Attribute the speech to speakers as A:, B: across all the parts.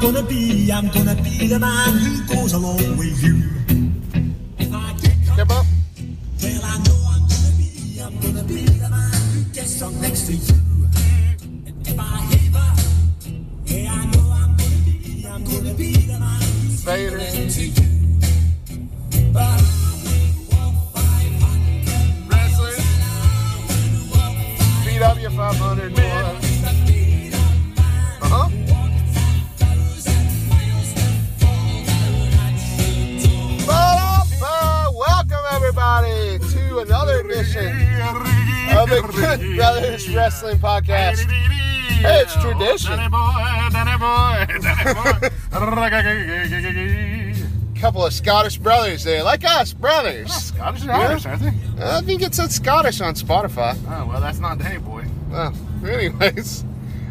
A: gonna be, I'm gonna be the man who goes along with you. If I get
B: Step up.
A: well, I know I'm gonna be, I'm gonna be the man who gets up next to you. And if I ever, yeah, I know I'm gonna be, I'm gonna be the man who's
B: Vader.
A: to you. But
B: Wrestling. PW 500. Uh huh. Welcome, everybody, to another edition of the Good Brothers Wrestling Podcast. Hey, it's tradition.
C: Danny boy, Danny boy, Danny boy.
B: couple of Scottish brothers there, like us, brothers.
C: Scottish and Irish, aren't they?
B: I think it said Scottish on Spotify.
C: Oh, well, that's not Danny boy.
B: Well, anyways,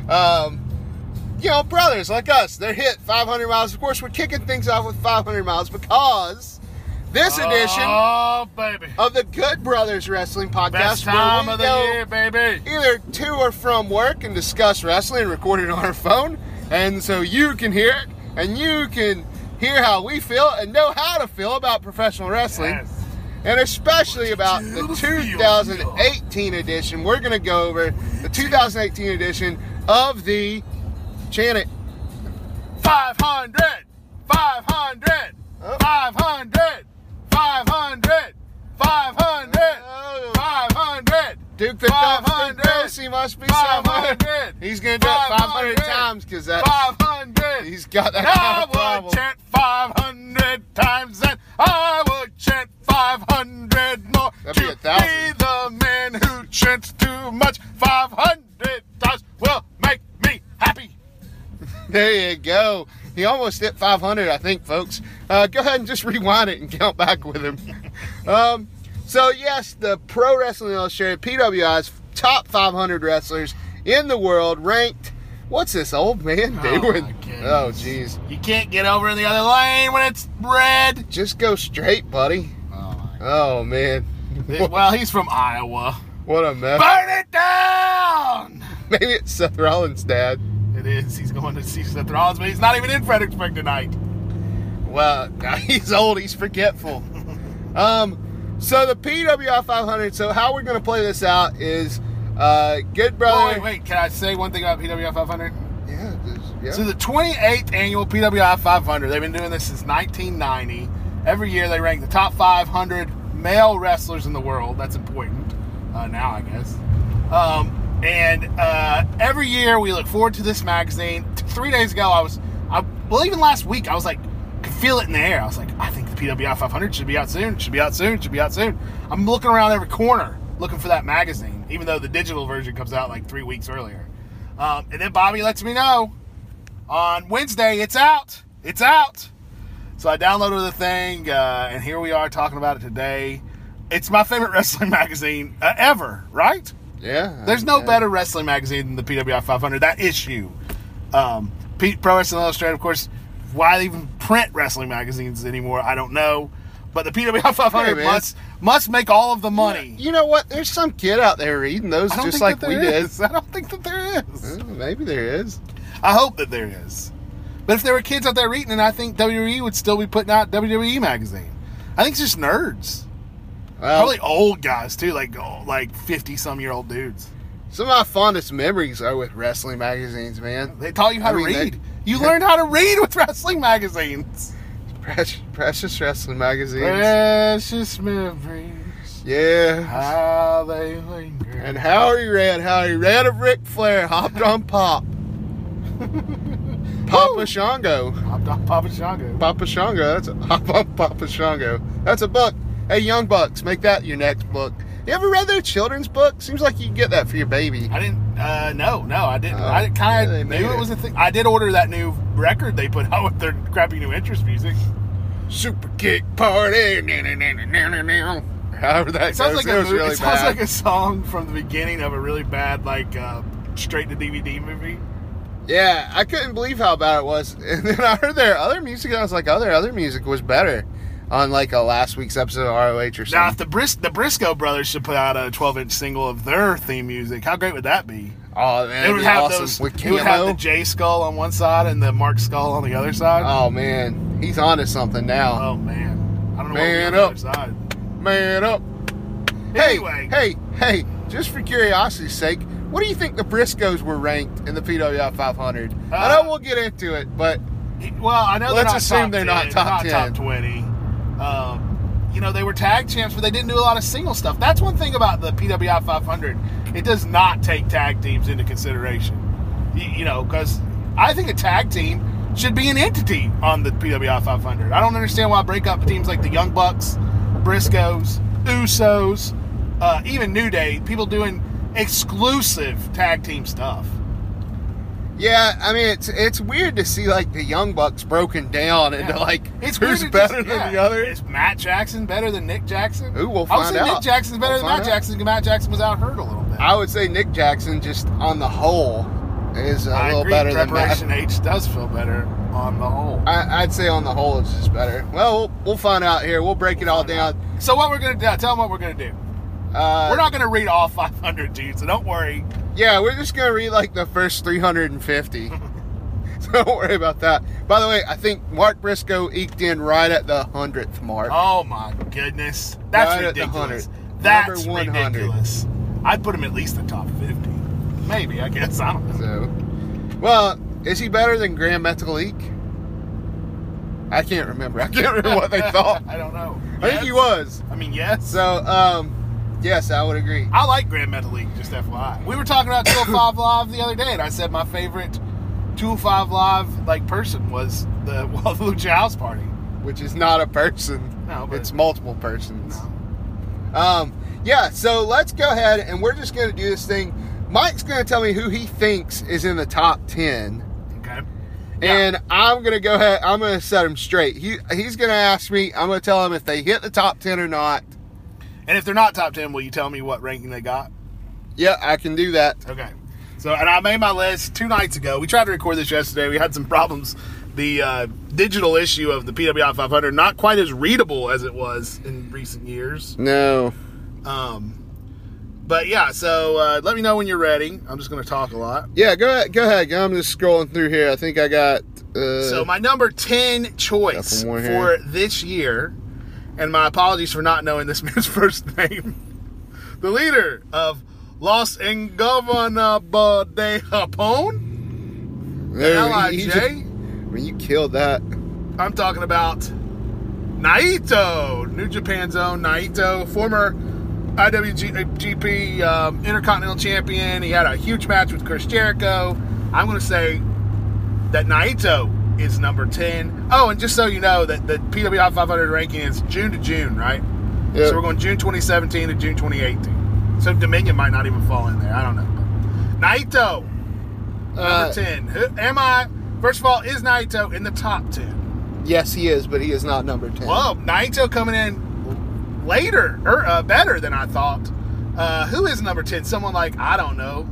B: um, you know, brothers like us, they're hit 500 miles. Of course, we're kicking things off with 500 miles because this edition
C: Oh, baby.
B: of the Good Brothers Wrestling Podcast,
C: Best time
B: where
C: of
B: we
C: the
B: go
C: year, baby.
B: either to or from work and discuss wrestling, recorded on our phone, and so you can hear it and you can hear how we feel and know how to feel about professional wrestling
C: Yes.
B: and especially about the
C: Two
B: 2018 edition. We're going to go over the 2018 edition of the chant it
C: 500, 500, Oh. 500, 500, 500, Oh. 500.
B: Duke the Duck
C: 500.
B: Ducey must be somewhere.
C: 500.
B: He's going to do it 500
C: 500.
B: times because that
C: 500.
B: he's got that kind
C: I
B: of problem.
C: would chant 500 times and I would chant 500 more.
B: That'd be
C: to
B: a thousand.
C: Be the man who chants too much 500 times will make me happy.
B: There you go. He almost hit 500, I think, folks. Uh, go ahead and just rewind it and count back with him. um, so, yes, the Pro Wrestling Illustrated PWI's top 500 wrestlers in the world ranked. What's this old man
C: Oh,
B: doing?
C: my goodness.
B: Oh, jeez.
C: You can't get over in the other lane when it's red.
B: Just go straight, buddy.
C: Oh
B: Oh, man.
C: my. Well, he's from Iowa.
B: What a mess.
C: Burn it down!
B: Maybe it's Seth Rollins' dad.
C: It is. He's going to see Seth Rollins, but he's not even in Fredericksburg tonight.
B: Well, he's old. He's forgetful. um, so the PWI 500. So how we're gonna play this out is uh, good
C: Oh,
B: brother.
C: wait, wait. Can I say one thing about PWI 500?
B: Yeah, this- yeah.
C: So the 28th annual PWI 500. They've been doing this since 1990. Every year they rank the top 500 male wrestlers in the world. That's important uh, now, I guess. Um, and uh, every year we look forward to this magazine. T- Three days ago, I was, I, well, even last week, I was like, could feel it in the air. I was like, I think the PWI 500 should be out soon. Should be out soon. Should be out soon. I'm looking around every corner looking for that magazine, even though the digital version comes out like three weeks earlier. Um, and then Bobby lets me know on Wednesday. It's out. It's out. So I downloaded the thing, uh, and here we are talking about it today. It's my favorite wrestling magazine uh, ever, right?
B: yeah.
C: There's no
B: yeah.
C: better wrestling magazine than the PWI 500. That issue. Um, Pete Pro Wrestling Illustrated, of course, why they even print wrestling magazines anymore, I don't know. But the PWI 500
B: Hey, man.
C: must must make all of the money.
B: You know what? There's some kid out there reading those
C: I don't
B: just
C: think
B: like
C: that
B: we
C: there
B: did.
C: is. I don't think that there is.
B: Well, Maybe there is.
C: I hope that there is. But if there were kids out there reading it, I think WWE would still be putting out WWE magazine. I think it's just nerds.
B: Well,
C: Probably old guys too, like oh, like fifty some year old dudes.
B: some of my fondest memories are with wrestling magazines, man.
C: They taught you how
B: I
C: to
B: mean,
C: read.
B: that-
C: you learned how to read with wrestling magazines.
B: Precious, precious wrestling magazines.
C: Precious memories,
B: Yeah.
C: how they linger.
B: And how he read, how he read of Ric Flair, hopped on Pop. Papa Shango.
C: Popped off Papa Shango.
B: Papa Shango. That's a hop on Papa Shango. That's a book. Hey, Young Bucks, make that your next book. You ever read their children's book? Seems like you can get that for your baby.
C: I didn't. Uh, no, no, I didn't.
B: Oh,
C: I
B: yeah,
C: kind of
B: they made
C: knew
B: it.
C: it was a thing. I did order that new record they put out with their crappy new interest music.
B: Super kick party. na, na, na, na, na, na, na. However that
C: It sounds
B: goes,
C: like a
B: was
C: movie-
B: really
C: it sounds
B: bad.
C: like a song from the beginning of a really bad like uh, straight to DVD movie.
B: yeah, "Oh, I couldn't believe how bad it was. And then I heard their other music, and I was like, other other music was better. on like a last week's episode of ROH or
C: Now, if
B: something.
C: the Bris- the Briscoe brothers should put out a 12 inch single of their theme music, how great would that be?
B: Oh man,
C: It
B: that'd
C: would
B: be
C: have
B: awesome
C: those.
B: with
C: It would have the
B: Camo.
C: J skull on one side and the Mark skull on the other side.
B: Oh man, he's onto something now.
C: oh man, I don't know.
B: Man
C: what
B: up.
C: would be on the other side.
B: Man up.
C: Oh. Anyway,
B: Hey, hey, hey, just for curiosity's sake, what do you think the Briscoes were ranked in the PWI 500? I
C: Uh,
B: know we'll get into it, but
C: Well, I know.
B: Let's assume
C: they're
B: they're
C: not
B: not
C: top
B: top
C: 10, not
B: 10.
C: top twenty. Um, you know, they were tag champs, but they didn't do a lot of single stuff. That's one thing about the PWI 500. It does not take tag teams into consideration. You, you know, because I think a tag team should be an entity on the PWI 500. I don't understand why break up teams like the Young Bucks, Briscoes, Usos, uh, even New Day. People doing exclusive tag team stuff.
B: yeah, I mean it's it's weird to see like the Young Bucks broken down into
C: Yeah.
B: like
C: weird
B: who's
C: to
B: better
C: just-
B: than
C: yeah.
B: the other.
C: Is Matt Jackson better than Nick Jackson?
B: Ooh, we'll
C: I would
B: find
C: say Nick
B: out.
C: Jackson's better
B: We'll
C: than Matt
B: find out.
C: Jackson because Matt Jackson was out hurt a little bit.
B: I would say Nick Jackson just on the whole is a
C: I
B: little
C: agree.
B: better than Matt.
C: Preparation H does feel better on the whole.
B: I, I'd say on the whole it's just better. Well, we'll, we'll find out here. We'll break it all down.
C: So what we're gonna do? Tell them what we're gonna do.
B: Uh,
C: We're not gonna read all 500 dudes, so don't worry.
B: Yeah, we're just gonna read like the first 350. so don't worry about that. By the way, I think Mark Briscoe eked in right at the hundredth mark.
C: Oh my goodness, that's
B: Right at the
C: ridiculous.
B: 100.
C: That's
B: Number 100.
C: ridiculous. I'd put him at least the top 50. Maybe I guess I don't know.
B: So, well, is he better than Grand Metal Eek? I can't remember. I can't remember what they thought.
C: I don't know.
B: I think he was.
C: I mean, yes.
B: So, um, yes, I would agree.
C: I like Grand Metal League, just FYI. We were talking about 205 Live the other day, and I said my favorite 205 Live like person was the Lucha House Party.
B: Which is not a person.
C: No, but-
B: it's multiple persons. Um, yeah, so let's go ahead and we're just going to do this thing. Mike's going to tell me who he thinks is in the top 10.
C: Okay.
B: And I'm going to go ahead, I'm going to set him straight. He, he's going to ask me, I'm going to tell him if they hit the top 10 or not.
C: And if they're not top 10, will you tell me what ranking they got?
B: Yeah, I can do that.
C: Okay. So, and I made my list two nights ago. We tried to record this yesterday. We had some problems. The uh, digital issue of the PWI 500 not quite as readable as it was in recent years.
B: No.
C: Um, but yeah, so uh, let me know when you're ready. I'm just going to talk a lot.
B: Yeah, go ahead. Go ahead. I'm just scrolling through here. I think I got. Uh,
C: So my number ten choice
B: Got one more
C: for
B: here.
C: this year, and my apologies for not knowing this man's first name. The leader of Los Ingobernable de Japón,
B: there, he- he
C: Lij.
B: just- Man, you killed that.
C: I'm talking about Naito, New Japan's own Naito, former IWGP um, Intercontinental Champion. He had a huge match with Chris Jericho. I'm going to say that Naito is number 10. Oh, and just so you know, that the PWI 500 ranking is June to June, right?
B: Yeah.
C: So we're going June 2017 to June 2018. So Dominion might not even fall in there. I don't know. Naito, number
B: Uh,
C: 10. Who, am I, first of all, is Naito in the top 10?
B: Yes, he is, but he is not number 10.
C: Well, Naito coming in later or uh, better than I thought. Uh, who is number ten? Someone like I don't know,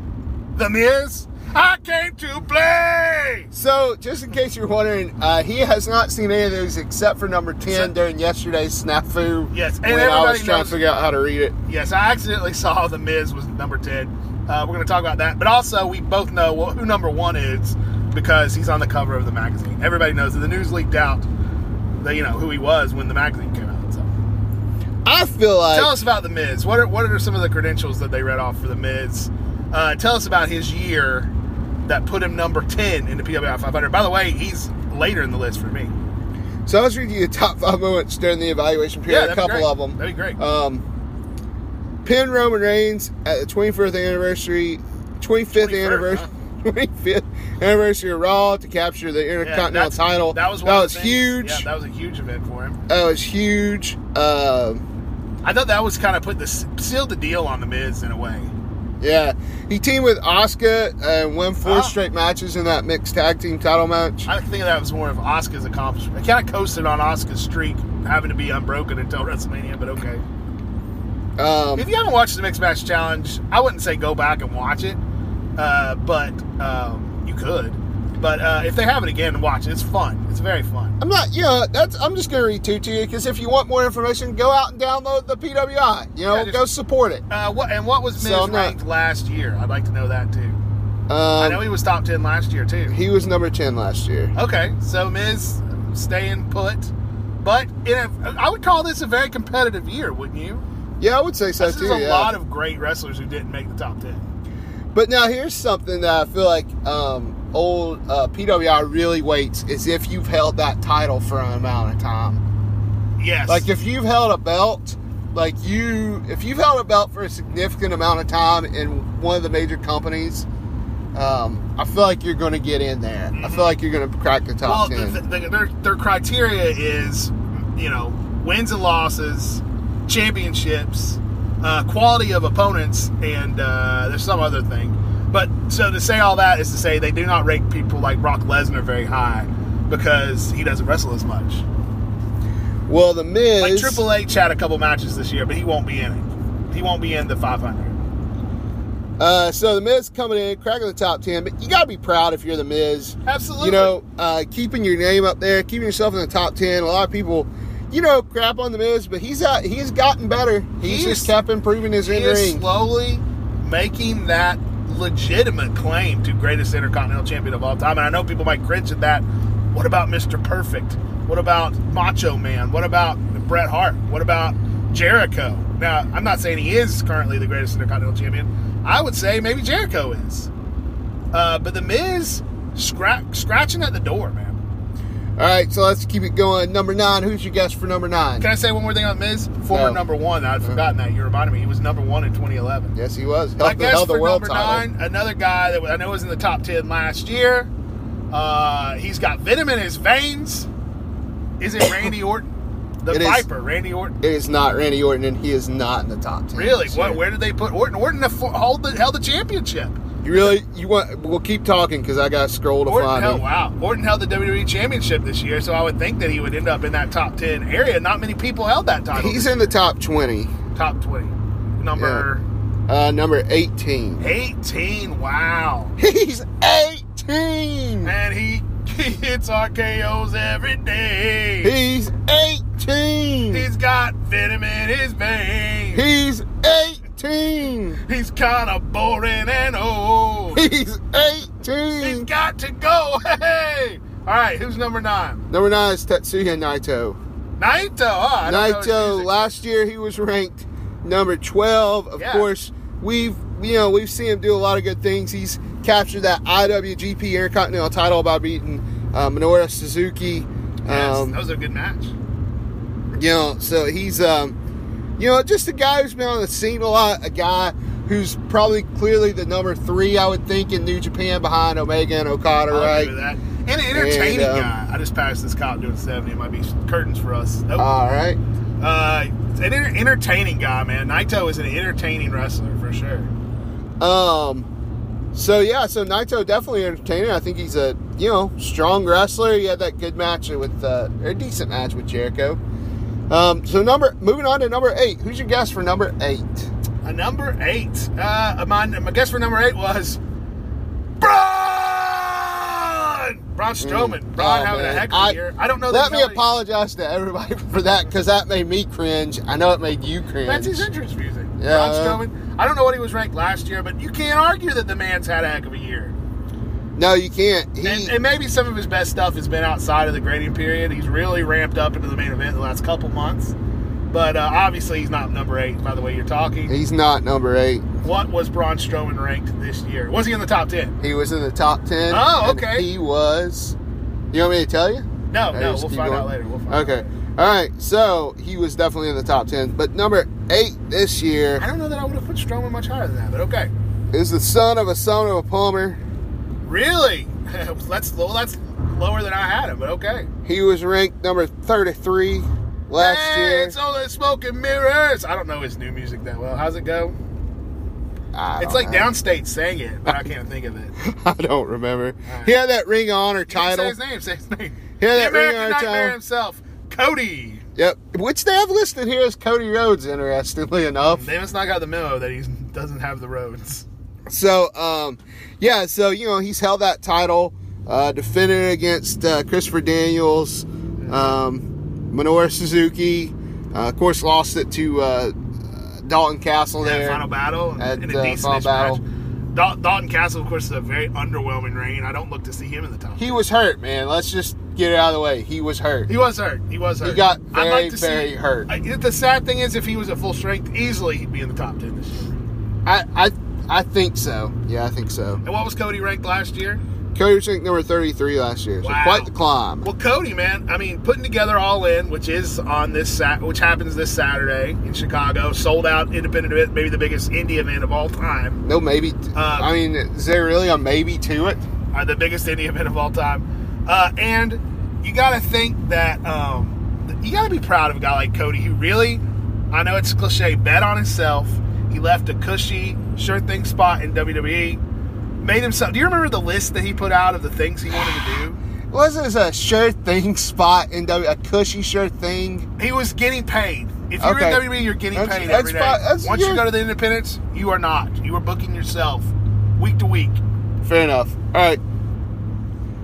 C: The Miz. I came to play.
B: So, just in case you're wondering, uh, he has not seen any of those except for number 10
C: So-
B: during yesterday's snafu.
C: Yes, and
B: and when I was
C: everybody
B: trying
C: knows-
B: to figure out how to read it.
C: Yes, I accidentally saw The Miz was number ten. Uh, we're going to talk about that, but also we both know wh- who number one is because he's on the cover of the magazine. Everybody knows that the news leaked out. That you know who he was when the magazine came out. So.
B: I feel like.
C: tell us about the Miz. What are what are some of the credentials that they read off for the Miz? Uh, tell us about his year that put him number ten in the PWI 500. By the way, he's later in the list for me.
B: so, I was reading you the top five moments during the evaluation period, a
C: that'd be
B: couple
C: great.
B: of them.
C: That'd be great.
B: Um, pin Roman Reigns at the 25th anniversary, 25th
C: 21st,
B: anniversary. 25th anniversary of Raw to capture the
C: Yeah,
B: Intercontinental
C: that's-
B: title.
C: That was one
B: that
C: of
B: was
C: the things-
B: huge.
C: Yeah,
B: that-,
C: that was a huge event for him.
B: was huge. Um,
C: I thought that was kind of put the sealed the deal on the Miz in a way.
B: Yeah, he teamed with Oscar and won four
C: Ah.
B: straight matches in that mixed tag team title match.
C: I think that was more of Oscar's accomplishment. It kind of coasted on Oscar's streak, having to be unbroken until WrestleMania. But okay.
B: Um,
C: If you haven't watched the Mixed Match Challenge, I wouldn't say go back and watch it, uh, but um, you could. But uh, if they have it again, watch it. It's fun. It's very fun.
B: I'm not, you know, that's, I'm just going to read two to you because if you want more information, go out and download the PWI. You know,
C: Yeah, just-
B: go support it.
C: Uh, what and what was Miz
B: So I'm not-
C: ranked last year? I'd like to know that too.
B: Um,
C: I know he was top ten last year too.
B: he was number 10 last year.
C: Okay, so Miz staying put, but in a, I would call this a very competitive year, wouldn't you?
B: Yeah, I would say so
C: This
B: too.
C: is a
B: yeah.
C: lot of great wrestlers who didn't make the top ten.
B: But now here's something that I feel like um, old uh, PWI really waits is if you've held that title for an amount of time.
C: Yes,
B: Like if you've held a belt, like you, if you've held a belt for a significant amount of time in one of the major companies, um, I feel like you're going to get in there. I feel like you're going to crack the
C: well,
B: top
C: the,
B: ten.
C: the, their their criteria is, you know, wins and losses, championships, uh, quality of opponents, and uh, there's some other thing. But so to say all that is to say they do not rank people like Brock Lesnar very high because he doesn't wrestle as much.
B: well, the Miz,
C: Like Triple H had a couple matches this year, but he won't be in it. He won't be in the 500.
B: uh, so the Miz coming in, cracking the top ten. But you got to be proud if you're the Miz.
C: Absolutely.
B: you know, uh, keeping your name up there, keeping yourself in the top ten. A lot of people, you know, crap on the Miz, but he's out, he's gotten better. He's,
C: He
B: just
C: is-
B: kept improving his
C: he
B: in
C: is
B: ring.
C: slowly making that legitimate claim to greatest intercontinental champion of all time. And I know people might cringe at that. What about Mr. Perfect? What about Macho Man? What about Bret Hart? What about Jericho? Now, I'm not saying he is currently the greatest intercontinental champion. I would say maybe Jericho is. Uh, but The Miz scra- scratching at the door, man.
B: All right, so let's keep it going. Number nine, who's your guess for number nine?
C: Can I say one more thing on Miz? Former
B: No.
C: number one. I'd forgotten that. You reminded me. He was number one in 2011.
B: Yes, he was.
C: My
B: Held, the-
C: guess
B: held the
C: for
B: world
C: number
B: title.
C: nine, another guy that I know was in the top 10 last year. Uh, he's got venom in his veins. Is it Randy Orton? The
B: It is.
C: Viper, Randy Orton.
B: It is not Randy Orton, and he is not in the top ten.
C: Really?
B: this
C: What,
B: year.
C: where did they put Orton? Orton the, held, the, held the championship.
B: You really? You want? We'll keep talking because I got to scroll to
C: Orton
B: find
C: held,
B: him.
C: wow. Orton held the WWE championship this year, so I would think that he would end up in that top 10 area. Not many people held that title.
B: He's in the top twenty,
C: top 20. Number
B: uh, number eighteen.
C: 18. Wow.
B: He's eighteen.
C: And he, he hits RKOs every day.
B: He's eighteen.
C: has got venom in his veins.
B: He's 18.
C: He's kind of boring and old.
B: He's
C: He's
B: 18.
C: got to go. Hey! All right, who's number nine?
B: Number nine is Tetsuya Naito.
C: Naito. Oh, I don't know his
B: Naito.
C: music.
B: Last year he was ranked number 12. Of
C: Yeah.
B: course, we've you know we've seen him do a lot of good things. He's captured that IWGP Intercontinental title by beating uh, Minoru Suzuki.
C: Yes,
B: Um,
C: that was a good match.
B: You know, so he's, um, you know, just a guy who's been on the scene a lot, a guy who's probably clearly the number three, I would think, in New Japan behind Omega and Okada,
C: I'll
B: right?
C: give you that. And an entertaining
B: And, um,
C: guy. I just passed this cop doing 70. It might be curtains for us. Nope.
B: All right.
C: Uh, an enter- entertaining guy, man. Naito is an entertaining wrestler for sure.
B: Um, so, yeah, so Naito definitely entertaining. I think he's a, you know, strong wrestler. He had that good match with, uh, or a decent match with Jericho. Um, so, number, moving on to number eight. Who's your guess for number eight?
C: A number eight. Uh, my, my guess for number eight was Braun. Braun Strowman.
B: Mm.
C: Braun
B: Oh,
C: having
B: man.
C: a heck of
B: I-
C: a year. I don't know.
B: Let
C: that
B: me apologize to everybody for that because that made me cringe. I know it made you cringe.
C: That's his entrance music.
B: Yeah, well.
C: Braun Strowman. I don't know what he was ranked last year, but you can't argue that the man's had a heck of a year.
B: No, you can't. He,
C: and, and maybe some of his best stuff has been outside of the grading period. He's really ramped up into the main event the last couple months. But uh, obviously, he's not number eight by the way you're talking.
B: he's not number eight.
C: What was Braun Strowman ranked this year? Was he in the top 10?
B: He was in the top ten.
C: Oh,
B: and
C: okay.
B: He was. You want me to tell you?
C: No,
B: Or
C: no,
B: just
C: we'll
B: keep
C: find
B: going?
C: out later. We'll find out
B: okay.
C: later.
B: All right. So he was definitely in the top ten, but number eight this
C: I
B: year
C: don't know that I would have put Strowman much higher than that, but okay.
B: is the son of a son of a plumber.
C: Really? that's low. That's lower than I had him, but okay.
B: He was ranked number thirty-three last
C: hey,
B: year.
C: it's only smoke and mirrors. I don't know his new music that well. How's it go?
B: I
C: It's
B: don't
C: like
B: know.
C: Downstate sang it, but I can't think of it.
B: I don't remember.
C: right.
B: He had that Ring of Honor
C: Say
B: title.
C: his name. Say his name.
B: Yeah, that
C: the American
B: ring on our
C: Nightmare
B: tongue.
C: himself, Cody.
B: Yep. Which they have listed here as Cody Rhodes, interestingly enough.
C: They must not got the memo that he doesn't have the roads.
B: So, um, yeah, so you know he's held that title. uh, defended against uh, Christopher Daniels, um, Minoru Suzuki. Uh, of course, lost it to uh, Dalton Castle
C: Yeah,
B: there.
C: final battle and,
B: at,
C: and
B: uh,
C: a decent
B: final battle.
C: match. Dal- Dalton Castle, of course, is a very underwhelming reign. I don't look to see him in the top.
B: He was hurt, man. Let's just get it out of the way. He was hurt.
C: He was hurt. He was hurt.
B: got very,
C: I'd
B: very hurt.
C: I, the sad thing is, if he was at full strength, easily he'd be in the top ten this year.
B: I, I, I think so. Yeah, I think so.
C: And what was Cody ranked last year?
B: Cody was ranked number 33 last year, so
C: Wow.
B: quite the climb.
C: Well, Cody, man, I mean, putting together All In, which is on this, Sat- which happens this Saturday in Chicago, sold out independent event, maybe the biggest indie event of all time,
B: No, maybe.
C: Uh,
B: I mean, is there really a maybe to it?
C: uh, the biggest indie event of all time, uh, and you got to think that um, th- you got to be proud of a guy like Cody who really, I know it's cliche, bet on himself. He left a cushy, sure thing spot in WWE, made himself. Do you remember the list that he put out of the things he wanted to do?
B: Was this a sure thing spot in W? A cushy sure thing?
C: He was getting paid. If you're
B: Okay.
C: in WWE, you're getting
B: That's-
C: paid
B: that's
C: every day.
B: fi- that's-
C: Once you
B: you're-
C: go to the independents, you are not. You are booking yourself week to week.
B: Fair enough. All right.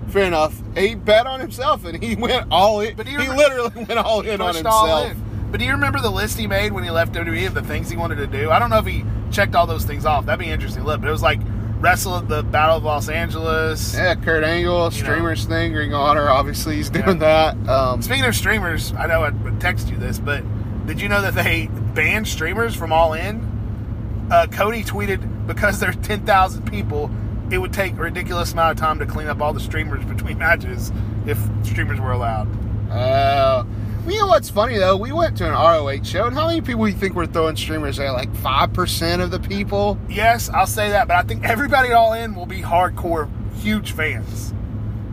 B: Fair enough. He bet on himself and he went all in.
C: But
B: But
C: he
B: he,
C: remem-
B: literally went all in Oh, on
C: Pushed
B: himself.
C: all in. But do you remember the list he made when he left WWE of the things he wanted to do? I don't know if he checked all those things off. That'd be an interesting look. But it was like wrestle at the Battle of Los Angeles.
B: Yeah, Kurt Angle,
C: You know.
B: streamers thing, Ring of Honor. Obviously, he's doing that. Um,
C: Speaking of streamers, I know I would text you this, but did you know that they banned streamers from All In? Uh, Cody tweeted, because there are 10,000 people, it would take a ridiculous amount of time to clean up all the streamers between matches if streamers were allowed.
B: uh, you know what's funny though? We went to an ROH show, and how many people you think were throwing streamers there? Like five percent of the people.
C: Yes, I'll say that, but I think everybody at All In will be hardcore, huge fans.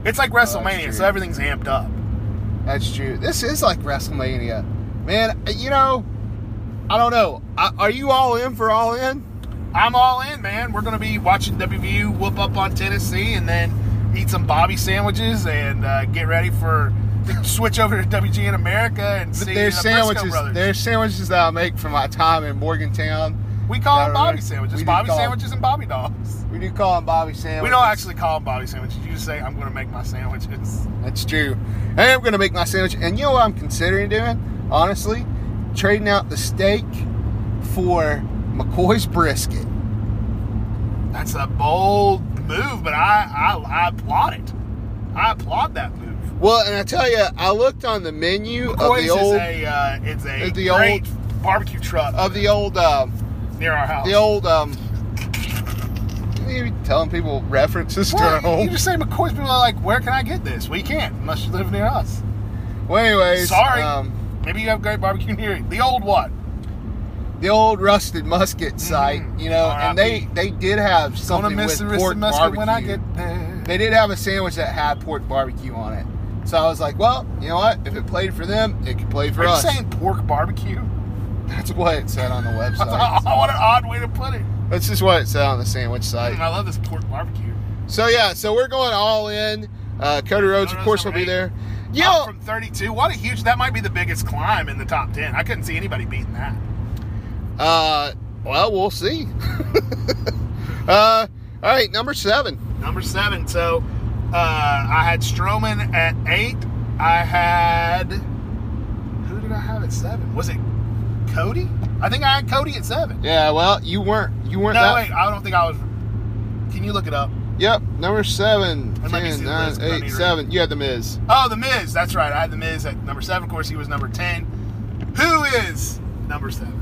C: It's like WrestleMania,
B: true.
C: so everything's amped up.
B: That's true. This is like WrestleMania, man. uh, You know, I don't know. I, are you all in for all in?
C: I'm all in, man. We're going to be watching WVU whoop up on Tennessee and then eat some Bobby sandwiches and uh, get ready for to switch over to WG in America and see
B: There's
C: the Briscoe
B: sandwiches.
C: brothers.
B: There's sandwiches that I make for my time in Morgantown.
C: we call them
B: No, no,
C: Bobby
B: we-
C: sandwiches.
B: we do
C: Bobby
B: call 'em-
C: sandwiches and Bobby dogs.
B: We do call them Bobby sandwiches.
C: We don't actually call them Bobby sandwiches. You just say, I'm going to make my sandwiches.
B: That's true. I am going to make my sandwich. And you know what I'm considering doing? Honestly, trading out the steak for McCoy's brisket.
C: That's a bold move, but I, I, I applaud it. I applaud that move.
B: Well, and I tell you, I looked on the menu
C: McCoy's
B: of the old
C: is a, uh, it's a
B: the
C: great barbecue truck
B: of the old uh,
C: near our house.
B: the old um. You telling people references to our
C: Well, you- you
B: home.
C: just say McCoy's people are like, where can I get this? We can't unless you live near us.
B: Well, anyways,
C: Sorry.
B: Um,
C: Maybe you have great barbecue near you. The old one.
B: the old rusted musket site,
C: Mhm.
B: you know, and they
C: R.I.P.
B: they did have
C: Gonna
B: something
C: miss
B: with
C: the
B: pork
C: wrist
B: barbecue.
C: of mustard when I get there.
B: They did have a sandwich that had pork barbecue on it. So I was like, well, you know what? If it played for them, it could play for
C: Are you
B: us.
C: saying pork barbecue?
B: That's what it said on the
C: I thought, oh, what an
B: website.
C: odd way to put it.
B: That's just what it said on the sandwich
C: I,
B: site.
C: love this pork barbecue.
B: So yeah, so we're going all in. Uh, Cody Rhodes, of
C: Rhodes
B: course, will be
C: number
B: there.
C: eight.
B: Yo,
C: Up from 32. What a huge. That might be the biggest climb in the top 10. I couldn't see anybody beating that.
B: uh, well, we'll see. uh, all right, number seven.
C: Number seven. So uh, I had Strowman at eight. I had who did I have at seven? Was it Cody? I think I had Cody at seven.
B: Yeah, well, you weren't, you weren't
C: No,
B: that.
C: wait. I don't think I was. Can you look it up?
B: Yep, number seven,
C: And let me see
B: ten,
C: the
B: nine,
C: list, 'cause I need
B: eight,
C: to-
B: seven. You had the Miz.
C: Oh, the Miz. That's right. I had the Miz at number seven. Of course, he was number ten. Who is number seven?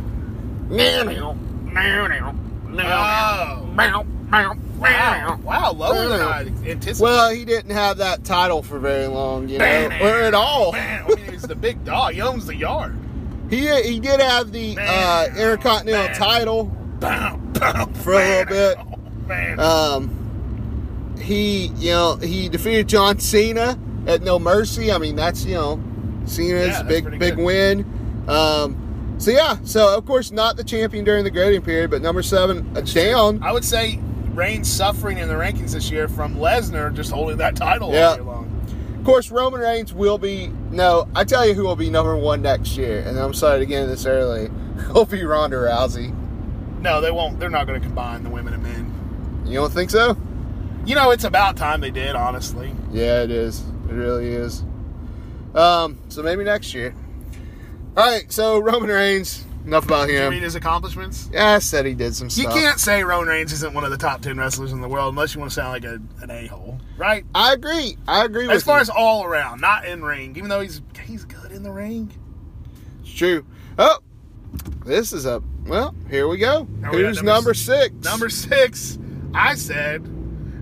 C: Oh. Wow. Wow. Lower than I anticipated.
B: Well, he didn't have that title for very long, you know, or at all.
C: Man, I mean, he's the big dog. He owns the yard.
B: He he did have the uh,
C: Man.
B: Intercontinental
C: Man.
B: title
C: Bam, bam,
B: for a little bit.
C: bam.
B: Um, he you know he defeated John Cena at No Mercy. I mean that's you know Cena's
C: that's
B: big
C: pretty
B: big
C: good.
B: win. Um, so yeah, so of course not the champion during the grading period, but number seven uh, down.
C: I would say Reigns suffering in the rankings this year from Lesnar just holding that title
B: Yeah.
C: all year long.
B: Of course, Roman Reigns will be no. I tell you who will be number one next year, and I'm sorry to get into this early. Will be Ronda Rousey.
C: No, they won't. They're not going to combine the women and men.
B: You don't think so?
C: You know, it's about time they did, honestly.
B: Yeah, it is. It really is. Um, so maybe next year. All right. So Roman Reigns. Enough about
C: Did you read
B: him.
C: his accomplishments?
B: Yeah, I said he did some
C: You
B: stuff.
C: can't say Roman Reigns isn't one of the top 10 wrestlers in the world unless you want to sound like a, an a hole, right?
B: I agree. I agree with
C: As far
B: you.
C: as all around, not in ring, even though he's he's good in the ring.
B: It's true. Oh, this is a well. Here we go.
C: Now we got
B: Who's number,
C: number s-
B: six?
C: Number six, I said,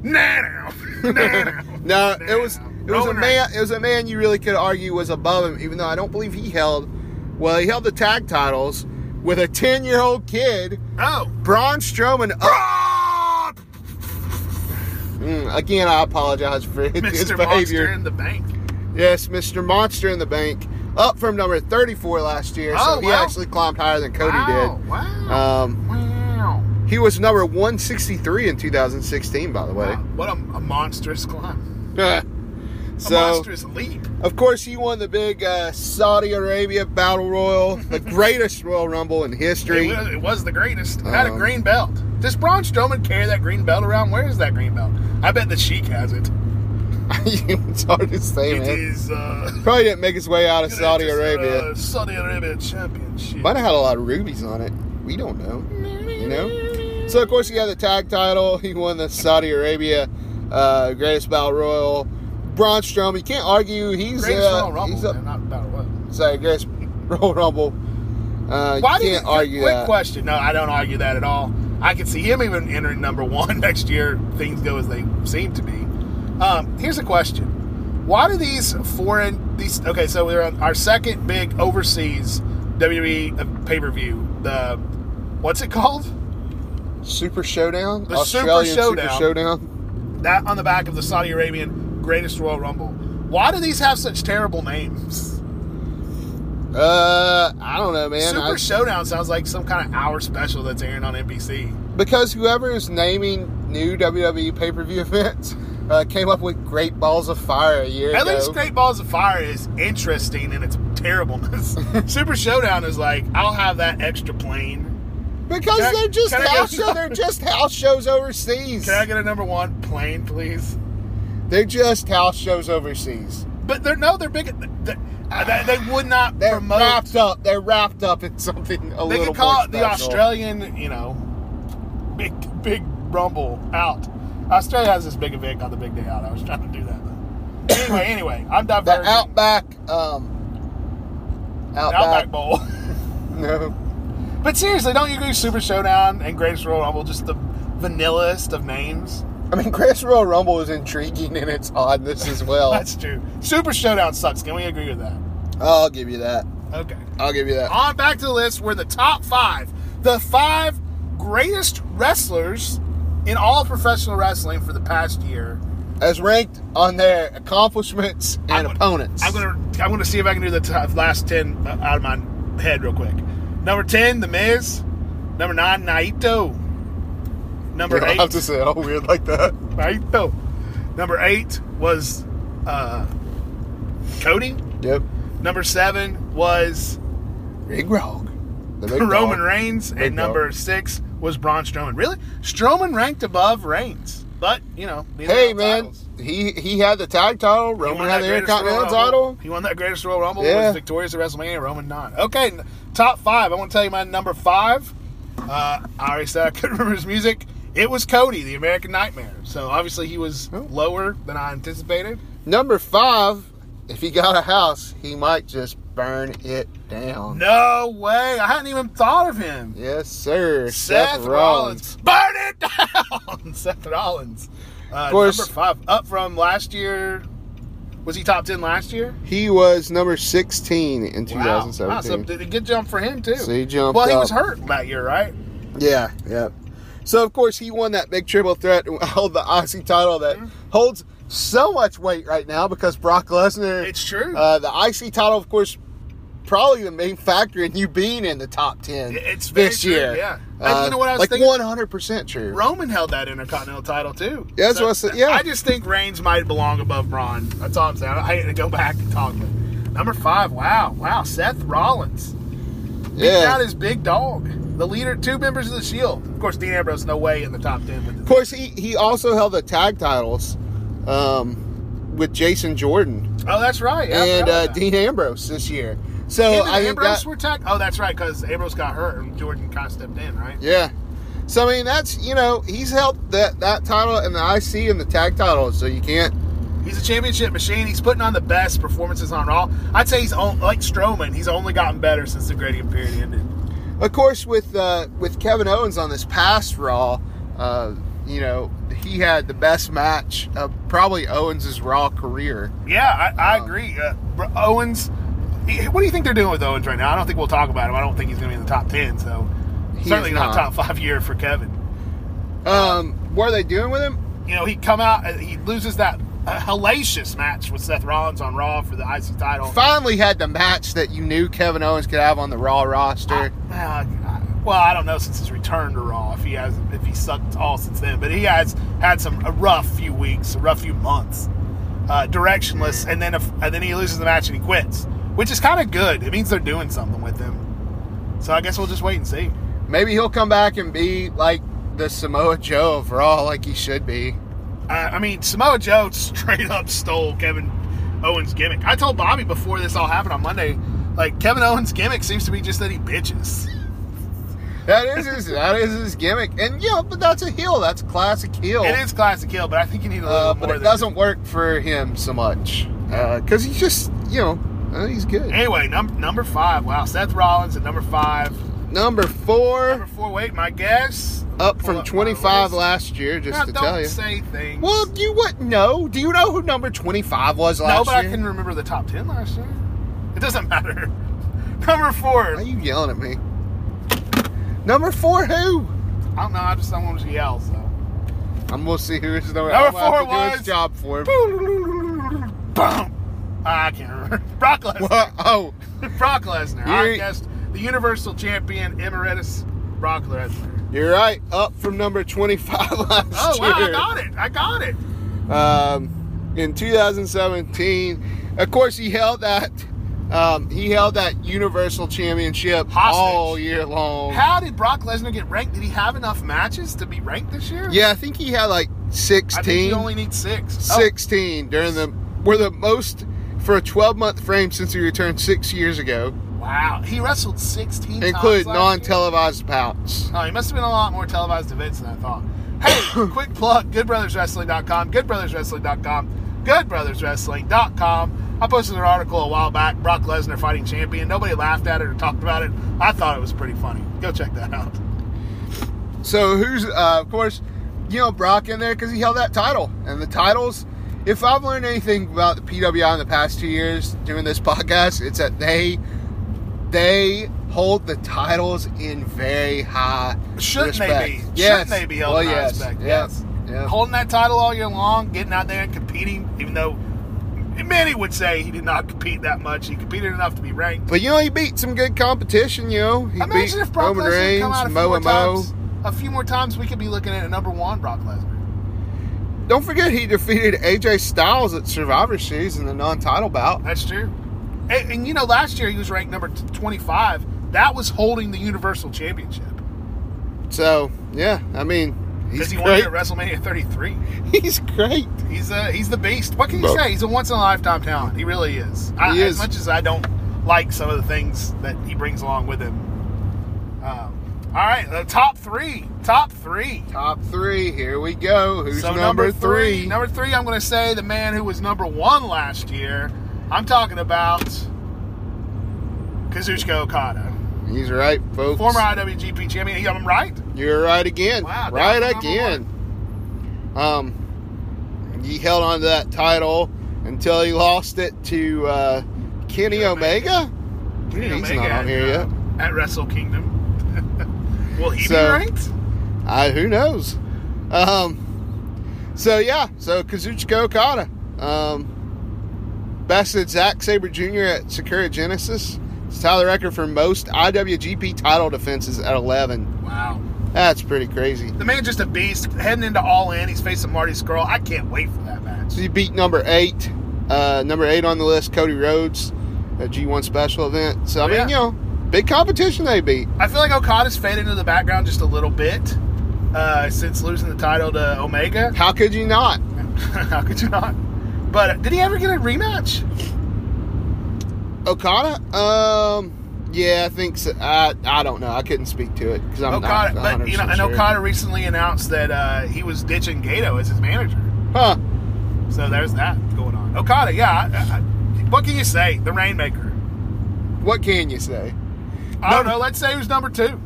C: Nano. Nano.
B: No, it
C: Nano.
B: was it was a
C: Roman
B: man.
C: Reigns.
B: It was a man you really could argue was above him, even though I don't believe he held. Well, he held the tag titles with a ten-year-old kid,
C: Oh.
B: Braun Strowman.
C: Ah!
B: Mm, again, I apologize for his behavior.
C: Mr. Monster in the bank.
B: Yes, Mr. Monster in the Bank, up from number 34 last year. so
C: Oh,
B: he
C: wow.
B: actually climbed higher than Cody
C: wow,
B: did.
C: Wow.
B: Um,
C: wow.
B: he was number 163 in 2016, by the way.
C: Wow, What a, a monstrous climb. A
B: so,
C: monstrous leap.
B: of course, he won the big uh, Saudi Arabia Battle Royal, the greatest Royal Rumble in history.
C: It was, it was the greatest. Had a
B: Um,
C: green belt. Does Braun Strowman carry that green belt around? Where is that green belt? I bet the Sheik has it.
B: it's hard to say,
C: It
B: man.
C: is uh,
B: Probably didn't make his way out of Saudi
C: it is,
B: Arabia.
C: Uh, Saudi Arabia championship.
B: Might have had a lot of rubies on it. We don't know. You know? So, of course, he had the tag title. He won the Saudi Arabia uh, Greatest Battle Royal. Braun Strowman, you can't argue. He's,
C: Greatest
B: uh,
C: Royal Rumble.
B: he's up,
C: man, not Battle Royal.
B: sorry, Greatest Royal Rumble. Uh, you
C: Why do
B: can't argue
C: Quick
B: that.
C: question. No, I don't argue that at all. I can see him even entering number one next year. Things go as they seem to be. Um, here's a question: Why do these foreign these? Okay, so we're on our second big overseas WWE pay per view. uh, The what's it called?
B: Super Showdown?
C: The Super
B: Australian
C: Showdown.
B: Showdown?
C: That on the back of the Saudi Arabian Greatest Royal Rumble. Why do these have such terrible names?
B: Uh, I don't know, man.
C: Super
B: I-
C: Showdown sounds like some kind of hour special that's airing on NBC.
B: because whoever is naming new WWE pay per view events uh, came up with Great Balls of Fire a year
C: At
B: ago.
C: least Great Balls of Fire is interesting in its terribleness. Super Showdown is like, I'll have that extra plane.
B: Because
C: Can I-
B: they're just
C: can I get
B: house
C: a-
B: show, they're just house shows overseas.
C: Can I get a number one plane, please?
B: They're just house shows overseas.
C: But they're no, they're big. They, they, they would not
B: They're
C: promote.
B: wrapped up. They're wrapped up in something a
C: they
B: little
C: could call
B: more
C: it the
B: special.
C: Australian, you know, big big rumble out. Australia has this big event called the Big Day Out. I was trying to do that. Though. Anyway, anyway, I'm diverting.
B: The Outback. Um,
C: The
B: Outback.
C: Outback Bowl.
B: No.
C: but seriously, don't you agree? Super Showdown and Greatest Royal Rumble just the vanillaest of names.
B: I mean, Chris Royal Rumble is intriguing in its oddness as well.
C: That's true. Super Showdown sucks. Can we agree with that?
B: I'll give you that.
C: Okay.
B: I'll give you that.
C: On back to the list. We're the top five. The five greatest wrestlers in all professional wrestling for the past year.
B: As ranked on their accomplishments and
C: I'm gonna-
B: opponents.
C: I'm gonna I'm gonna see if I can do the top, last ten uh, out of my head real quick. Number ten, The Miz. Number nine, Naito. Number
B: You don't have
C: eight,
B: to say it all weird like that.
C: Naito. Number eight was uh, Cody.
B: Yep.
C: Number seven was
B: Big Rogue. The big
C: Roman
B: dog.
C: Reigns,
B: Big
C: and number
B: dog.
C: six was Braun Strowman. Really, Strowman ranked above Reigns, but you know, these are
B: Hey
C: not
B: man,
C: titles.
B: he he had the tag title.
C: He
B: Roman
C: won
B: had
C: that
B: the
C: Greatest Royal
B: Intercontinental
C: Rumble.
B: title.
C: He won that Greatest Royal Rumble.
B: Yeah.
C: Was victorious at WrestleMania. Roman not. Okay, n- top five. I want to tell you my number five. Uh, I already said I couldn't remember his music. It was Cody, the American Nightmare. So obviously he was
B: Oh.
C: lower than I anticipated.
B: Number five, if he got a house, he might just burn it down.
C: No way. I hadn't even thought of him.
B: Yes, sir.
C: Seth, Rollins. Burn it down! Seth Rollins. Uh,
B: course.
C: Number five. Up from last year. Was he top 10 last year?
B: He was number 16 in
C: Wow. Wow, so
B: 2017.
C: did a good jump for him, too.
B: So he jumped
C: Well, he
B: up.
C: was hurt that year, right?
B: Yeah, yeah. So of course he won that big triple threat and held the Aussie title that
C: Mm-hmm.
B: holds so much weight right now because Brock Lesnar.
C: It's true.
B: Uh, the IC title, of course, probably the main factor in you being in the top ten.
C: It's very
B: this
C: true,
B: year.
C: yeah.
B: Uh,
C: And you know what I was
B: like
C: thinking?
B: one hundred percent true.
C: Roman held that Intercontinental title, too.
B: Yeah, that's what I said, yeah.
C: I just think Reigns might belong above Braun. That's all I'm saying. I had to go back and talk. But number five. Wow. Wow. Seth Rollins. He's
B: yeah,
C: not his big dog. the leader, two members of the Shield. Of course, Dean Ambrose no way in the top ten. With
B: Of
C: the,
B: course, he, he also held the tag titles um, with Jason Jordan
C: oh, that's right. Yeah, I
B: and
C: forgot
B: uh,
C: about that.
B: Dean Ambrose this year. So
C: Him and
B: I think
C: Ambrose
B: that,
C: were tag. Oh, that's right, because Ambrose got hurt and Jordan kind of stepped in, right?
B: yeah. So I mean, that's you know he's held that that title and the IC and the tag title, so you can't.
C: He's a championship machine. He's putting on the best performances on Raw. I'd say he's on, like Strowman. He's only gotten better since the Gradient period ended.
B: Of course, with uh, with Kevin Owens on this past Raw, uh, you know he had the best match of probably Owens' Raw career.
C: Yeah, I, I agree. Uh, bro- Owens, he- what do you think they're doing with Owens right now? I don't think we'll talk about him. I don't think he's going to be in the top ten. So
B: He is
C: certainly not
B: not.
C: top five year for Kevin.
B: Um, what are they doing with him?
C: You know, he come out, uh, he loses that uh, hellacious match with Seth Rollins on Raw for the IC title.
B: Finally, had the match that you knew Kevin Owens could have on the Raw
C: I-
B: roster.
C: uh, well, I don't know since his return to Raw if he has if he sucked all since then, but he has had some a rough few weeks, a rough few months, uh, directionless, and then if, and then he loses the match and he quits, which is kind of good. It means they're doing something with him. So I guess we'll just wait and see.
B: Maybe he'll come back and be like the Samoa Joe of Raw, like he should be.
C: Uh, I mean, Samoa Joe straight up stole Kevin Owens' gimmick. I told Bobby before this all happened on Monday, like Kevin Owens' gimmick seems to be just that he bitches.
B: That is his. that is his gimmick, and yeah, but that's a heel. That's a classic heel.
C: It is classic heel, but I think you need a little
B: Oh. uh,
C: more.
B: but it
C: than-
B: doesn't work for him so much because he's just you know uh, he's good.
C: Anyway, num- number five. Wow, Seth Rollins at number five.
B: Number four,
C: Number four. Wait, my guess.
B: up
C: Pull
B: from
C: up my
B: 25
C: list.
B: last year, just
C: Now,
B: to
C: don't
B: tell you.
C: say things.
B: well, you wouldn't know. Do you know who number 25 was last
C: no, but I
B: year?
C: can remember the top ten last year. It doesn't matter. Number four.
B: Why are
C: I
B: you yelling at me? Number four, who?
C: don't know. I just don't want to yell. So.
B: I'm gonna see who is number.
C: Number
B: I'm gonna have
C: four
B: to do his
C: was-
B: job for him.
C: Boom. I can't remember. Brock Lesnar.
B: What? Oh,
C: Brock Lesnar. I
B: You're-
C: guessed the Universal Champion Emeritus Brock Lesnar.
B: you're right. Up from number 25 last
C: Oh
B: year.
C: wow! I got it. I got it.
B: um, in 2017. Of course, he held that um, he held that Universal Championship
C: Hostage.
B: all year long.
C: How did Brock Lesnar get ranked? Did he have enough matches to be ranked this year?
B: yeah, I think he had like
C: I think
B: 16,
C: you only need six. Oh,
B: 16 during the were the most for a 12 month frame since he returned six years ago,
C: wow, he wrestled sixteen.
B: including
C: times last
B: non
C: year?
B: televised bouts.
C: Oh, he must have been on a lot more televised events than I thought. Hey, quick plug: GoodBrothersWrestling.com, GoodBrothersWrestling.com, GoodBrothersWrestling.com. I posted an article a while back: Brock Lesnar fighting champion. Nobody laughed at it or talked about it. I thought it was pretty funny. Go check that out.
B: So who's uh, of course, you know Brock in there because he held that title and the titles. If I've learned anything about the PWI in the past two years doing this podcast, it's that they they hold the titles in very high
C: Shouldn't
B: respect.
C: they be?
B: Yes.
C: Shouldn't they be held
B: well,
C: in high
B: yes.
C: respect?
B: Yeah.
C: Yes.
B: Yeah.
C: Holding that title all year long, getting out there and competing, even though many would say he did not compete that much. He competed enough to be ranked.
B: But you know he beat some good competition. You know he
C: Imagine
B: beat
C: if Brock
B: Roman
C: Lesnar had
B: Reigns,
C: come out a few
B: Mo
C: more
B: and Mo.
C: times. A few more times, we could be looking at a number one Brock Lesnar.
B: Don't forget he defeated AJ Styles at Survivor Series in the non-title bout.
C: That's true. And, and you know, last year he was ranked number t- 25. That was holding the Universal Championship
B: So yeah, I mean he's
C: because he won
B: great.
C: it at WrestleMania 33.
B: He's great.
C: He's a he's the beast. What can you
B: Bro.
C: say? He's a once in a lifetime talent. He really is. I,
B: He
C: as
B: is.
C: much as I don't like some of the things that he brings along with him. Um, all right, the top three. Top three.
B: Top three. Here we go. Who's
C: so
B: number, three?
C: Number three. I'm going to say the man who was number one last year. I'm talking about Kazuchika Okada,
B: He's right, folks.
C: former IWGP champion. I'm right.
B: You're right again.
C: Wow, that
B: right
C: was number
B: again. Um, he held on to that title until he lost it to uh, Kenny Omega. Dude, he's not on here
C: at,
B: yet.
C: uh, at Wrestle Kingdom. Will he
B: So-
C: be ranked?
B: I who knows. Um, so yeah, so Kazuchika Okada, um, bested Zack Saber Jr. at Sakura Genesis. It's tied the record for most IWGP title defenses at 11.
C: Wow.
B: That's pretty crazy.
C: The man's just a beast. Heading into All In, he's facing Marty Skrull. I can't wait for that match.
B: So you beat number eight, uh, number eight on the list, Cody Rhodes, a G1 special event. So I mean,
C: Yeah.
B: you know, Big competition they beat.
C: I feel like Okada's faded into the background just a little bit uh, since losing the title to Omega.
B: How could you not?
C: How could you not? But did he ever get a rematch?
B: Okada? Um, yeah, I think so. I, I don't know. I couldn't speak to it because I'm
C: Okada,
B: not.
C: but you know,
B: 100%
C: and
B: sure.
C: Okada recently announced that uh, he was ditching Gato as his manager.
B: Huh.
C: So there's that going on. Okada, yeah. I, I, what can you say? The Rainmaker.
B: What can you say?
C: I don't know. Let's say who's number two.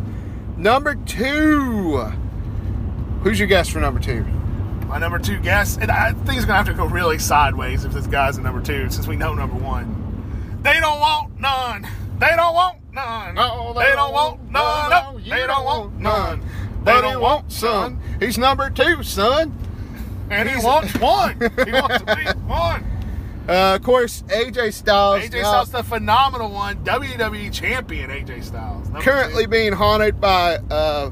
B: Number two. Who's your guess for number two?
C: My number two guess, and I think it's gonna have to go really sideways if this guy's a number two, since we know number one. They don't want none. They don't want none.
B: Oh,
C: they, don't want none.
B: no, you
C: they don't, want none.
B: They don't want son. He's number two, son.
C: And he wants one. He wants to be one.
B: Uh, of course, AJ Styles.
C: AJ
B: now
C: Styles, the phenomenal one, WWE champion AJ Styles. Number
B: currently
C: two.
B: being haunted by uh,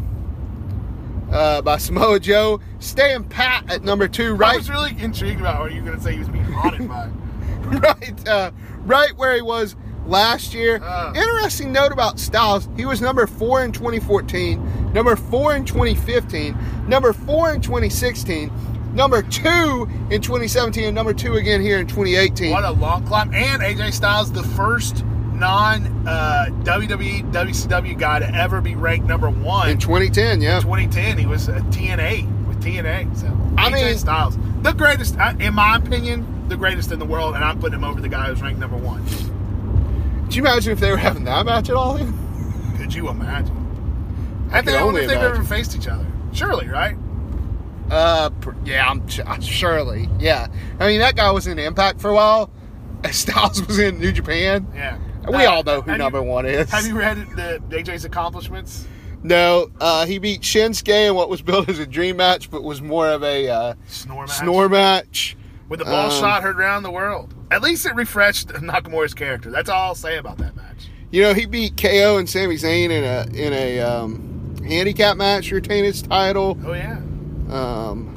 B: uh, by Samoa Joe, staying pat at number two,
C: I
B: right,
C: was really intrigued about what you were gonna say he was being haunted by.
B: right, uh, right where he was last year.
C: Uh.
B: Interesting note about Styles: he was number four in 2014, number four in 2015, number four in 2016. Number two in 2017, and number two again here in 2018.
C: What a long climb. And AJ Styles, the first non uh, WWE, WCW guy to ever be ranked number one.
B: in 2010, yeah.
C: 2010, he was a TNA with TNA. So
B: I
C: AJ
B: mean-
C: Styles, the greatest, I- in my opinion, the greatest in the world. And I'm putting him over the guy who's ranked number one.
B: Could you imagine if they were having that match at all?
C: Could you imagine? I
B: can
C: think I wonder
B: only
C: if they've
B: imagine.
C: ever faced each other. Surely, right?
B: Uh, pr- yeah, I'm ch- uh, surely. Yeah, I mean that guy was in Impact for a while. Styles was in New Japan.
C: Yeah.
B: We
C: Uh,
B: all know who
C: have
B: number
C: you-
B: one is.
C: Have you read the AJ's accomplishments?
B: No, uh, he beat Shinsuke in what was billed as a dream match, but was more of a uh,
C: Snore match.
B: snore match.
C: With a ball
B: Um,
C: shot heard around the world. At least it refreshed Nakamura's character. That's all I'll say about that match.
B: You know, he beat KO and Sami Zayn in a in a um, handicap match to retain his title.
C: Oh yeah.
B: Um,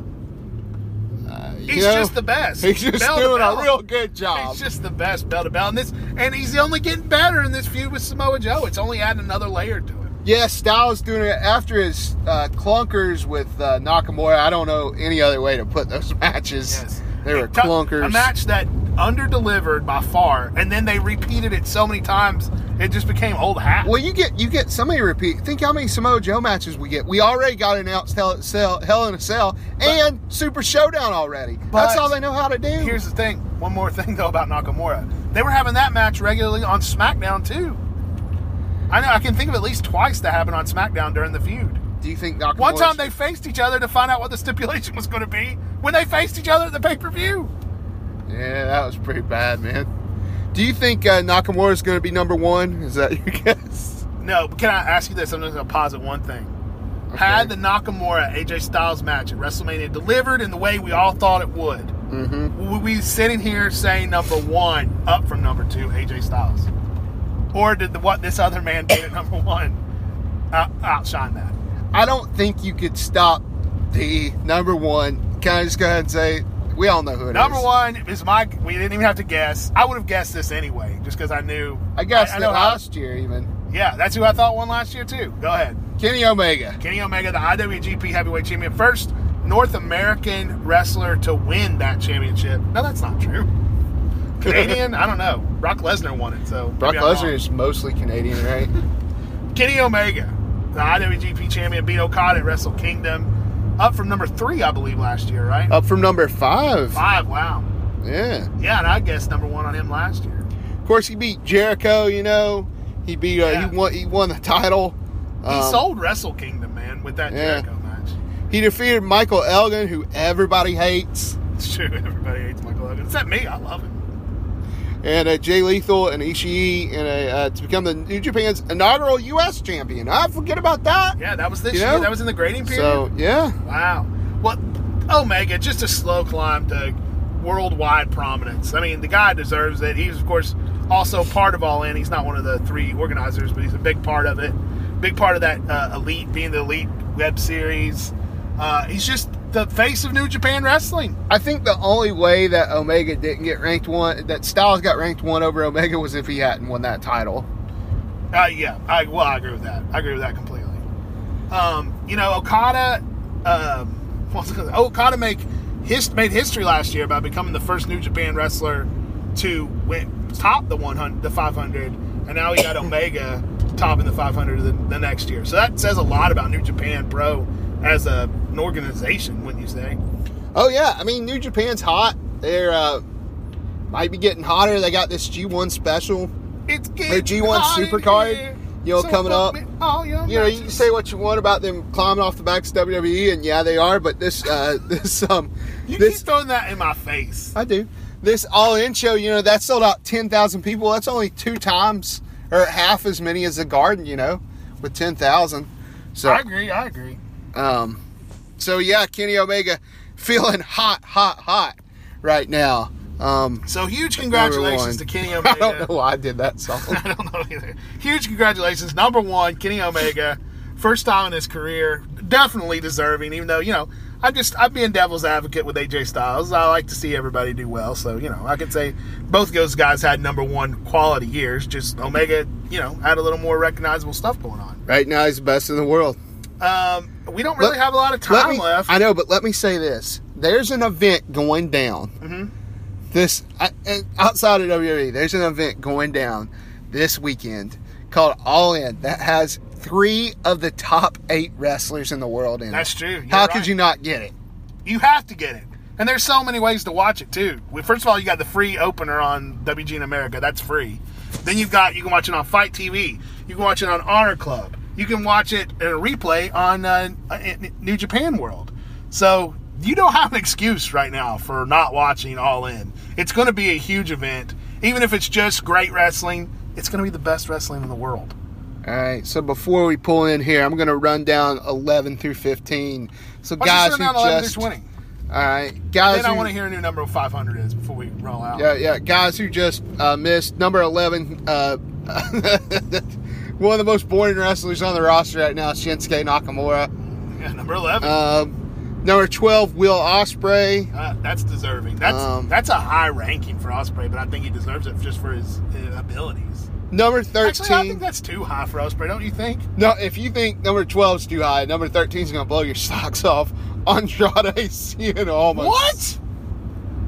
B: uh, you
C: He's
B: know,
C: just the best.
B: He's just
C: Bell to
B: doing a
C: bell.
B: real good job.
C: He's just the best bell to bell in this and he's only getting better in this feud with Samoa Joe. It's only adding another layer to it.
B: Yeah, Styles doing it after his uh, clunkers with uh, Nakamura. I don't know any other way to put those matches. They were
C: A tou-
B: clunkers.
C: A match that under-delivered by far, and then they repeated it so many times, it just became old hat.
B: Well, you get you get so many repeat. Think how many Samoa Joe matches we get. We already got announced Hell, Cell, Hell in a Cell and Super Showdown already. That's
C: But-
B: all they know how to do.
C: Here's the thing. One more thing though about Nakamura. They were having that match regularly on SmackDown too. I know I can think of at least twice that happened on SmackDown during the feud.
B: do you think Nakamura?
C: One time they faced each other to find out what the stipulation was going to be when they faced each other at the pay per view.
B: Yeah, that was pretty bad, man. Do you think uh, Nakamura is going to be number one? Is that your guess?
C: No, but can I ask you this? I'm just going to posit one thing.
B: Okay.
C: Had the Nakamura AJ Styles match at WrestleMania delivered in the way we all thought it would,
B: Mm-hmm.
C: would we be sitting here saying number one up from number two AJ Styles, or did the, what this other man did at number one out, outshine that?
B: I don't think you could stop the number one. Can I just go ahead and say we all know who it is?
C: Number one is my. We didn't even have to guess. I would have guessed this anyway, just because I knew.
B: I guess
C: I
B: that
C: know how-
B: last year even
C: Yeah, that's who I thought won last year too. Go ahead.
B: Kenny Omega.
C: Kenny Omega, the IWGP Heavyweight Champion, first North American wrestler to win that championship. No, that's not true. Canadian, I don't know. Brock Lesnar won it, so maybe
B: Brock
C: I'm
B: Lesnar
C: wrong.
B: is mostly Canadian, right?
C: Kenny Omega, the IWGP Champion, beat Okada at Wrestle Kingdom, up from number three, I believe, last year, right?
B: Up from number five.
C: Five, wow.
B: Yeah.
C: Yeah, and I guessed number one on him last year.
B: Of course, he beat Jericho. You know, he beat. Uh,
C: Yeah.
B: He won. He won the title.
C: He
B: Um,
C: sold Wrestle Kingdom, man, with that
B: yeah.
C: Jericho match.
B: He defeated Michael Elgin, who everybody hates,
C: It's true. Everybody hates Michael Elgin. Except me. I love him.
B: and uh, Jay Lethal and Ishii, and uh, uh, to become the New Japan's inaugural U.S. champion. I forget about that.
C: Yeah, that was this
B: You
C: year.
B: know?
C: That was in the grading period.
B: So yeah.
C: Wow. Well, Omega, just a slow climb to worldwide prominence. I mean, the guy deserves it. He's, of course, also part of All In. He's not one of the three organizers, but he's a big part of it. Big part of that uh, Elite, being the Elite web series. Uh, he's just the face of New Japan Wrestling.
B: I think the only way that Omega didn't get ranked one, that Styles got ranked one over Omega, was if he hadn't won that title.
C: Uh, yeah, I well, I agree with that. I agree with that completely. Um, you know, Okada, um, what's it called? Okada make his made history last year by becoming the first New Japan wrestler to win top the 100, the 500, and now he got Omega topping the 500 the, the next year. So that says a lot about New Japan Pro as a, an organization, wouldn't you say?
B: Oh yeah, I mean New Japan's hot. They're uh, might be getting hotter. They got this G1 special.
C: It's
B: Their G1
C: hot in
B: Supercard,
C: here.
B: you know, coming up.
C: fuck me all your
B: You know, you can
C: matches.
B: say what you want about them climbing off the backs of WWE, and yeah, they are. But this, uh, this, um,
C: You
B: this
C: keep throwing that in my face.
B: I do. This all in show, you know, that sold out 10,000 people. That's only two times or half as many as the garden, you know, with 10,000. So,
C: I agree. I agree.
B: um, so yeah, Kenny Omega feeling hot, hot, hot right now. Um,
C: So huge
B: number one.
C: congratulations to Kenny Omega.
B: I don't know why I did that song.
C: I don't know either. Huge congratulations, number one, Kenny Omega, first time in his career, definitely deserving. Even though you know, I'm just I'm being devil's advocate with AJ Styles. I like to see everybody do well, so you know, I could say both of those guys had number one quality years. Just Omega, you know, had a little more recognizable stuff going on.
B: right now, he's the best in the world.
C: Um, we don't really
B: Let-
C: have a lot of
B: Let
C: time
B: me,
C: left.
B: I know, but let me say this: there's an event going down.
C: Mm-hmm.
B: This I, and outside of WWE, there's an event going down this weekend called All In that has three of the top eight wrestlers in the world in it.
C: That's true. You're
B: How
C: right.
B: could you not get it?
C: you have to get it. And there's so many ways to watch it too. Well, First of all, you got the free opener on WG in America. That's free. Then you've got you can watch it on Fight TV. You can watch it on Honor Club. You can watch it in a replay on uh, in New Japan World. So you don't have an excuse right now for not watching All In. It's going to be a huge event, even if it's just great wrestling. It's going to be the best wrestling in the world.
B: All right, so before we pull in here, I'm going to run down 11 through 15. So
C: Why
B: guys
C: don't you
B: who
C: run down 11
B: just
C: through 20?
B: all right, guys
C: Then I
B: who-
C: want to hear a new number 500 is before we roll out.
B: Yeah, yeah, guys who just uh, missed number eleven. Uh, one of the most boring wrestlers on the roster right now, Shinsuke Nakamura.
C: Yeah, number 11.
B: Um, number twelve, Will Osprey.
C: Uh, that's deserving. That's
B: Um,
C: that's a high ranking for Osprey, but I think he deserves it just for his, uh abilities.
B: Number
C: Actually, I think
B: thirteen.
C: that's too high for Osprey, don't you think?
B: No, if you think number 12 is too high, number 13 is going to blow your socks off. Andrade Cien Almas.
C: What?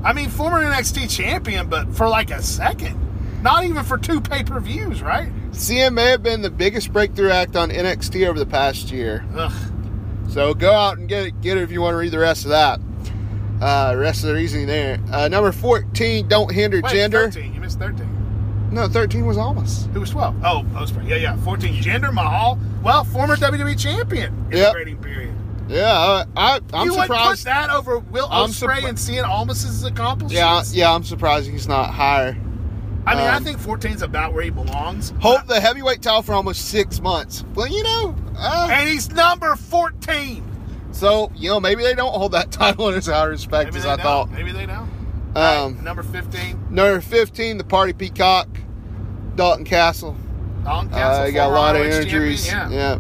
C: I mean, former NXT champion, but for like a second, not even for two pay per views, right?
B: Cien may have been the biggest breakthrough act on NXT over the past year.
C: Ugugh.
B: So go out and get it, get it if you want to read the rest of that. Uh, rest of the reasoning there. Uh, number fourteen, don't hinder
C: Wait,
B: gender.
C: Thirteen. You missed thirteen.
B: No, thirteen was almost.
C: Who was twelve? Oh, Osprey. Yeah, yeah. Fourteen. Gender Mahal. Well, former WWE champion in
B: Yep.
C: the grading period.
B: Yeah, I, I, I'm
C: you would put
B: surprised.
C: that over Will
B: I'm
C: Osprey
B: surpri-
C: and seeing Almas's accomplishments.
B: Yeah, yeah, I'm surprised he's not higher.
C: I mean, I
B: Um,
C: think 14 is about where he belongs.
B: Hold the heavyweight title for almost six months. Well, you know, uh,
C: And he's number 14.
B: so you know maybe they don't hold that title in as high respect
C: Maybe
B: as
C: they
B: I
C: know.
B: thought.
C: Maybe they know.
B: Um,
C: Number 15,
B: number fifteen, the party peacock, Dalton Castle.
C: Don Castle.
B: Uh, he got a
C: former
B: lot of
C: ROH champion.
B: injuries.
C: Yeah.
B: yeah.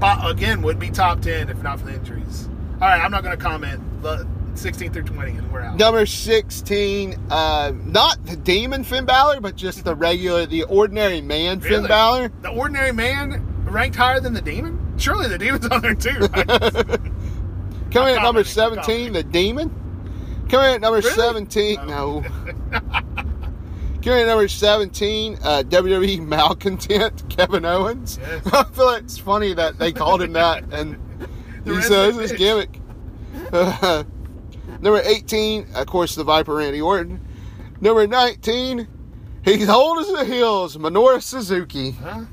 C: But again, would be top 10 if not for the injuries. All right, I'm not going to comment. The 16 through 20, and we're out.
B: Number 16, uh, not the demon Finn Balor, but just the regular, the ordinary man Finn
C: Really?
B: Balor.
C: The ordinary man ranked higher than the demon? Surely the demon's on there too, right?
B: Coming in at number
C: commenting,
B: 17,
C: commenting.
B: the demon. Coming in at number
C: Really?
B: 17, no. Coming in at number 17, uh, WWE malcontent Kevin Owens.
C: Yes.
B: I feel like it's funny that they called him that and
C: The
B: he
C: rest
B: says
C: of
B: this
C: it.
B: gimmick. Uh, number 18, of course, the Viper Randy Orton. Number 19, he's old as the hills, Minoru Suzuki.
C: Huh?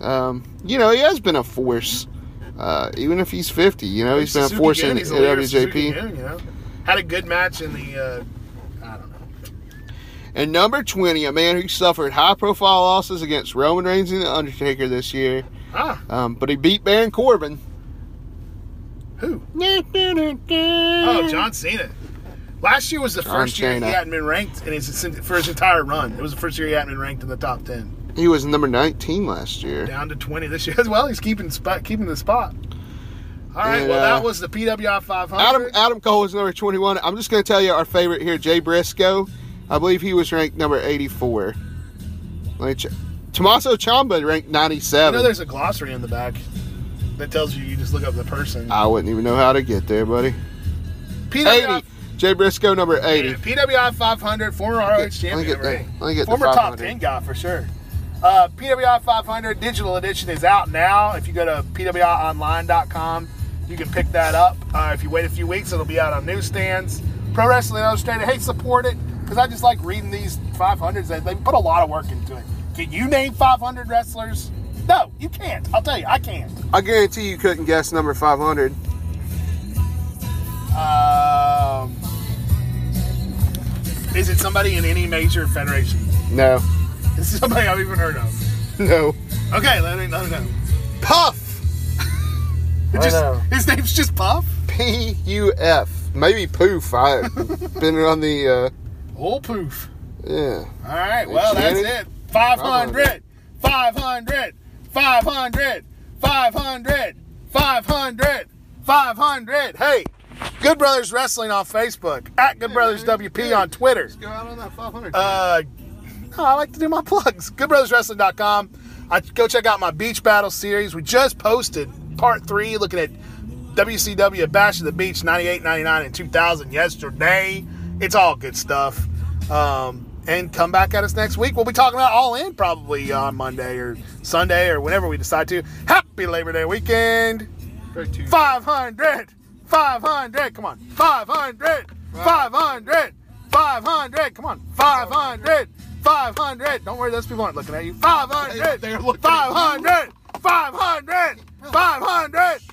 B: Um, you know, he has been a force. Uh, even if he's 50, you know, he's been a
C: Suzuki
B: force
C: again,
B: in, in
C: he's the leader of
B: WJP.
C: Suzuki again, you know? Had a good match in the, uh, I don't know.
B: And number 20, a man who suffered high profile losses against Roman Reigns and The Undertaker this year,
C: Ah,
B: um, but he beat Baron Corbin.
C: who?
B: Oh,
C: Oh, John Cena. Last year was the
B: John
C: first year
B: Cena.
C: he hadn't been ranked in his for his entire run. It was the first year he hadn't been ranked in the top ten.
B: He was number 19 last year.
C: Down to twenty this year. Well, he's keeping spot, keeping the spot. All right.
B: And,
C: well,
B: uh,
C: that was the PWI 500.
B: Adam Adam Cole was number 21. I'm just going to tell you our favorite here, Jay Briscoe. I believe he was ranked number 84. Let me check. Tommaso Ciampa ranked
C: I know
B: 97.
C: there's a glossary in the back that tells you you just look up the person.
B: I wouldn't even know how to get there, buddy.
C: PWI,
B: 80. Jay Briscoe, number 80.
C: PWI 500, former ROH champion.
B: Let me get
C: already.
B: the- let me get the
C: former top
B: 500.
C: 10 guy for sure. Uh, PWI 500 digital edition is out now. If you go to PWIOnline.com, you can pick that up. Uh, if you wait a few weeks, it'll be out on newsstands. Pro Wrestling Illustrated, hey, support it because I just like reading these 500s. They, they put a lot of work into it. Can you name 500 wrestlers? No, you can't. I'll tell you, I can't.
B: I guarantee you couldn't guess number 500.
C: Um, is it somebody in any major federation?
B: No.
C: Is it somebody I've even heard of?
B: No.
C: Okay, let me, let me know.
B: Puff!
C: It
B: I
C: just-
B: know.
C: His name's just Puff?
B: P U F. Maybe poof. I've been on the, uh,
C: Old poof.
B: yeah.
C: All right, well, that's
B: Janet?
C: it. 500, 500, 500, 500, 500, 500. Hey, Good Brothers Wrestling on Facebook, at Good Brothers WP on Twitter.
B: Go out on that 500.
C: Uh, no, I like to do my plugs. GoodBrothersWrestling.com. I go check out my Beach Battle series. We just posted part three, looking at WCW at Bash of the Beach 98, 99, and 2000 yesterday. It's all good stuff. Um, and come back at us next week. We'll be talking about All In probably on Monday or Sunday or whenever we decide to. Happy Labor Day weekend. 500, 500, come on, 500, 500, 500, come on, 500, 500. Don't worry, those people aren't looking at you. 500,
B: They- they're looking at you.
C: 500, 500, 500.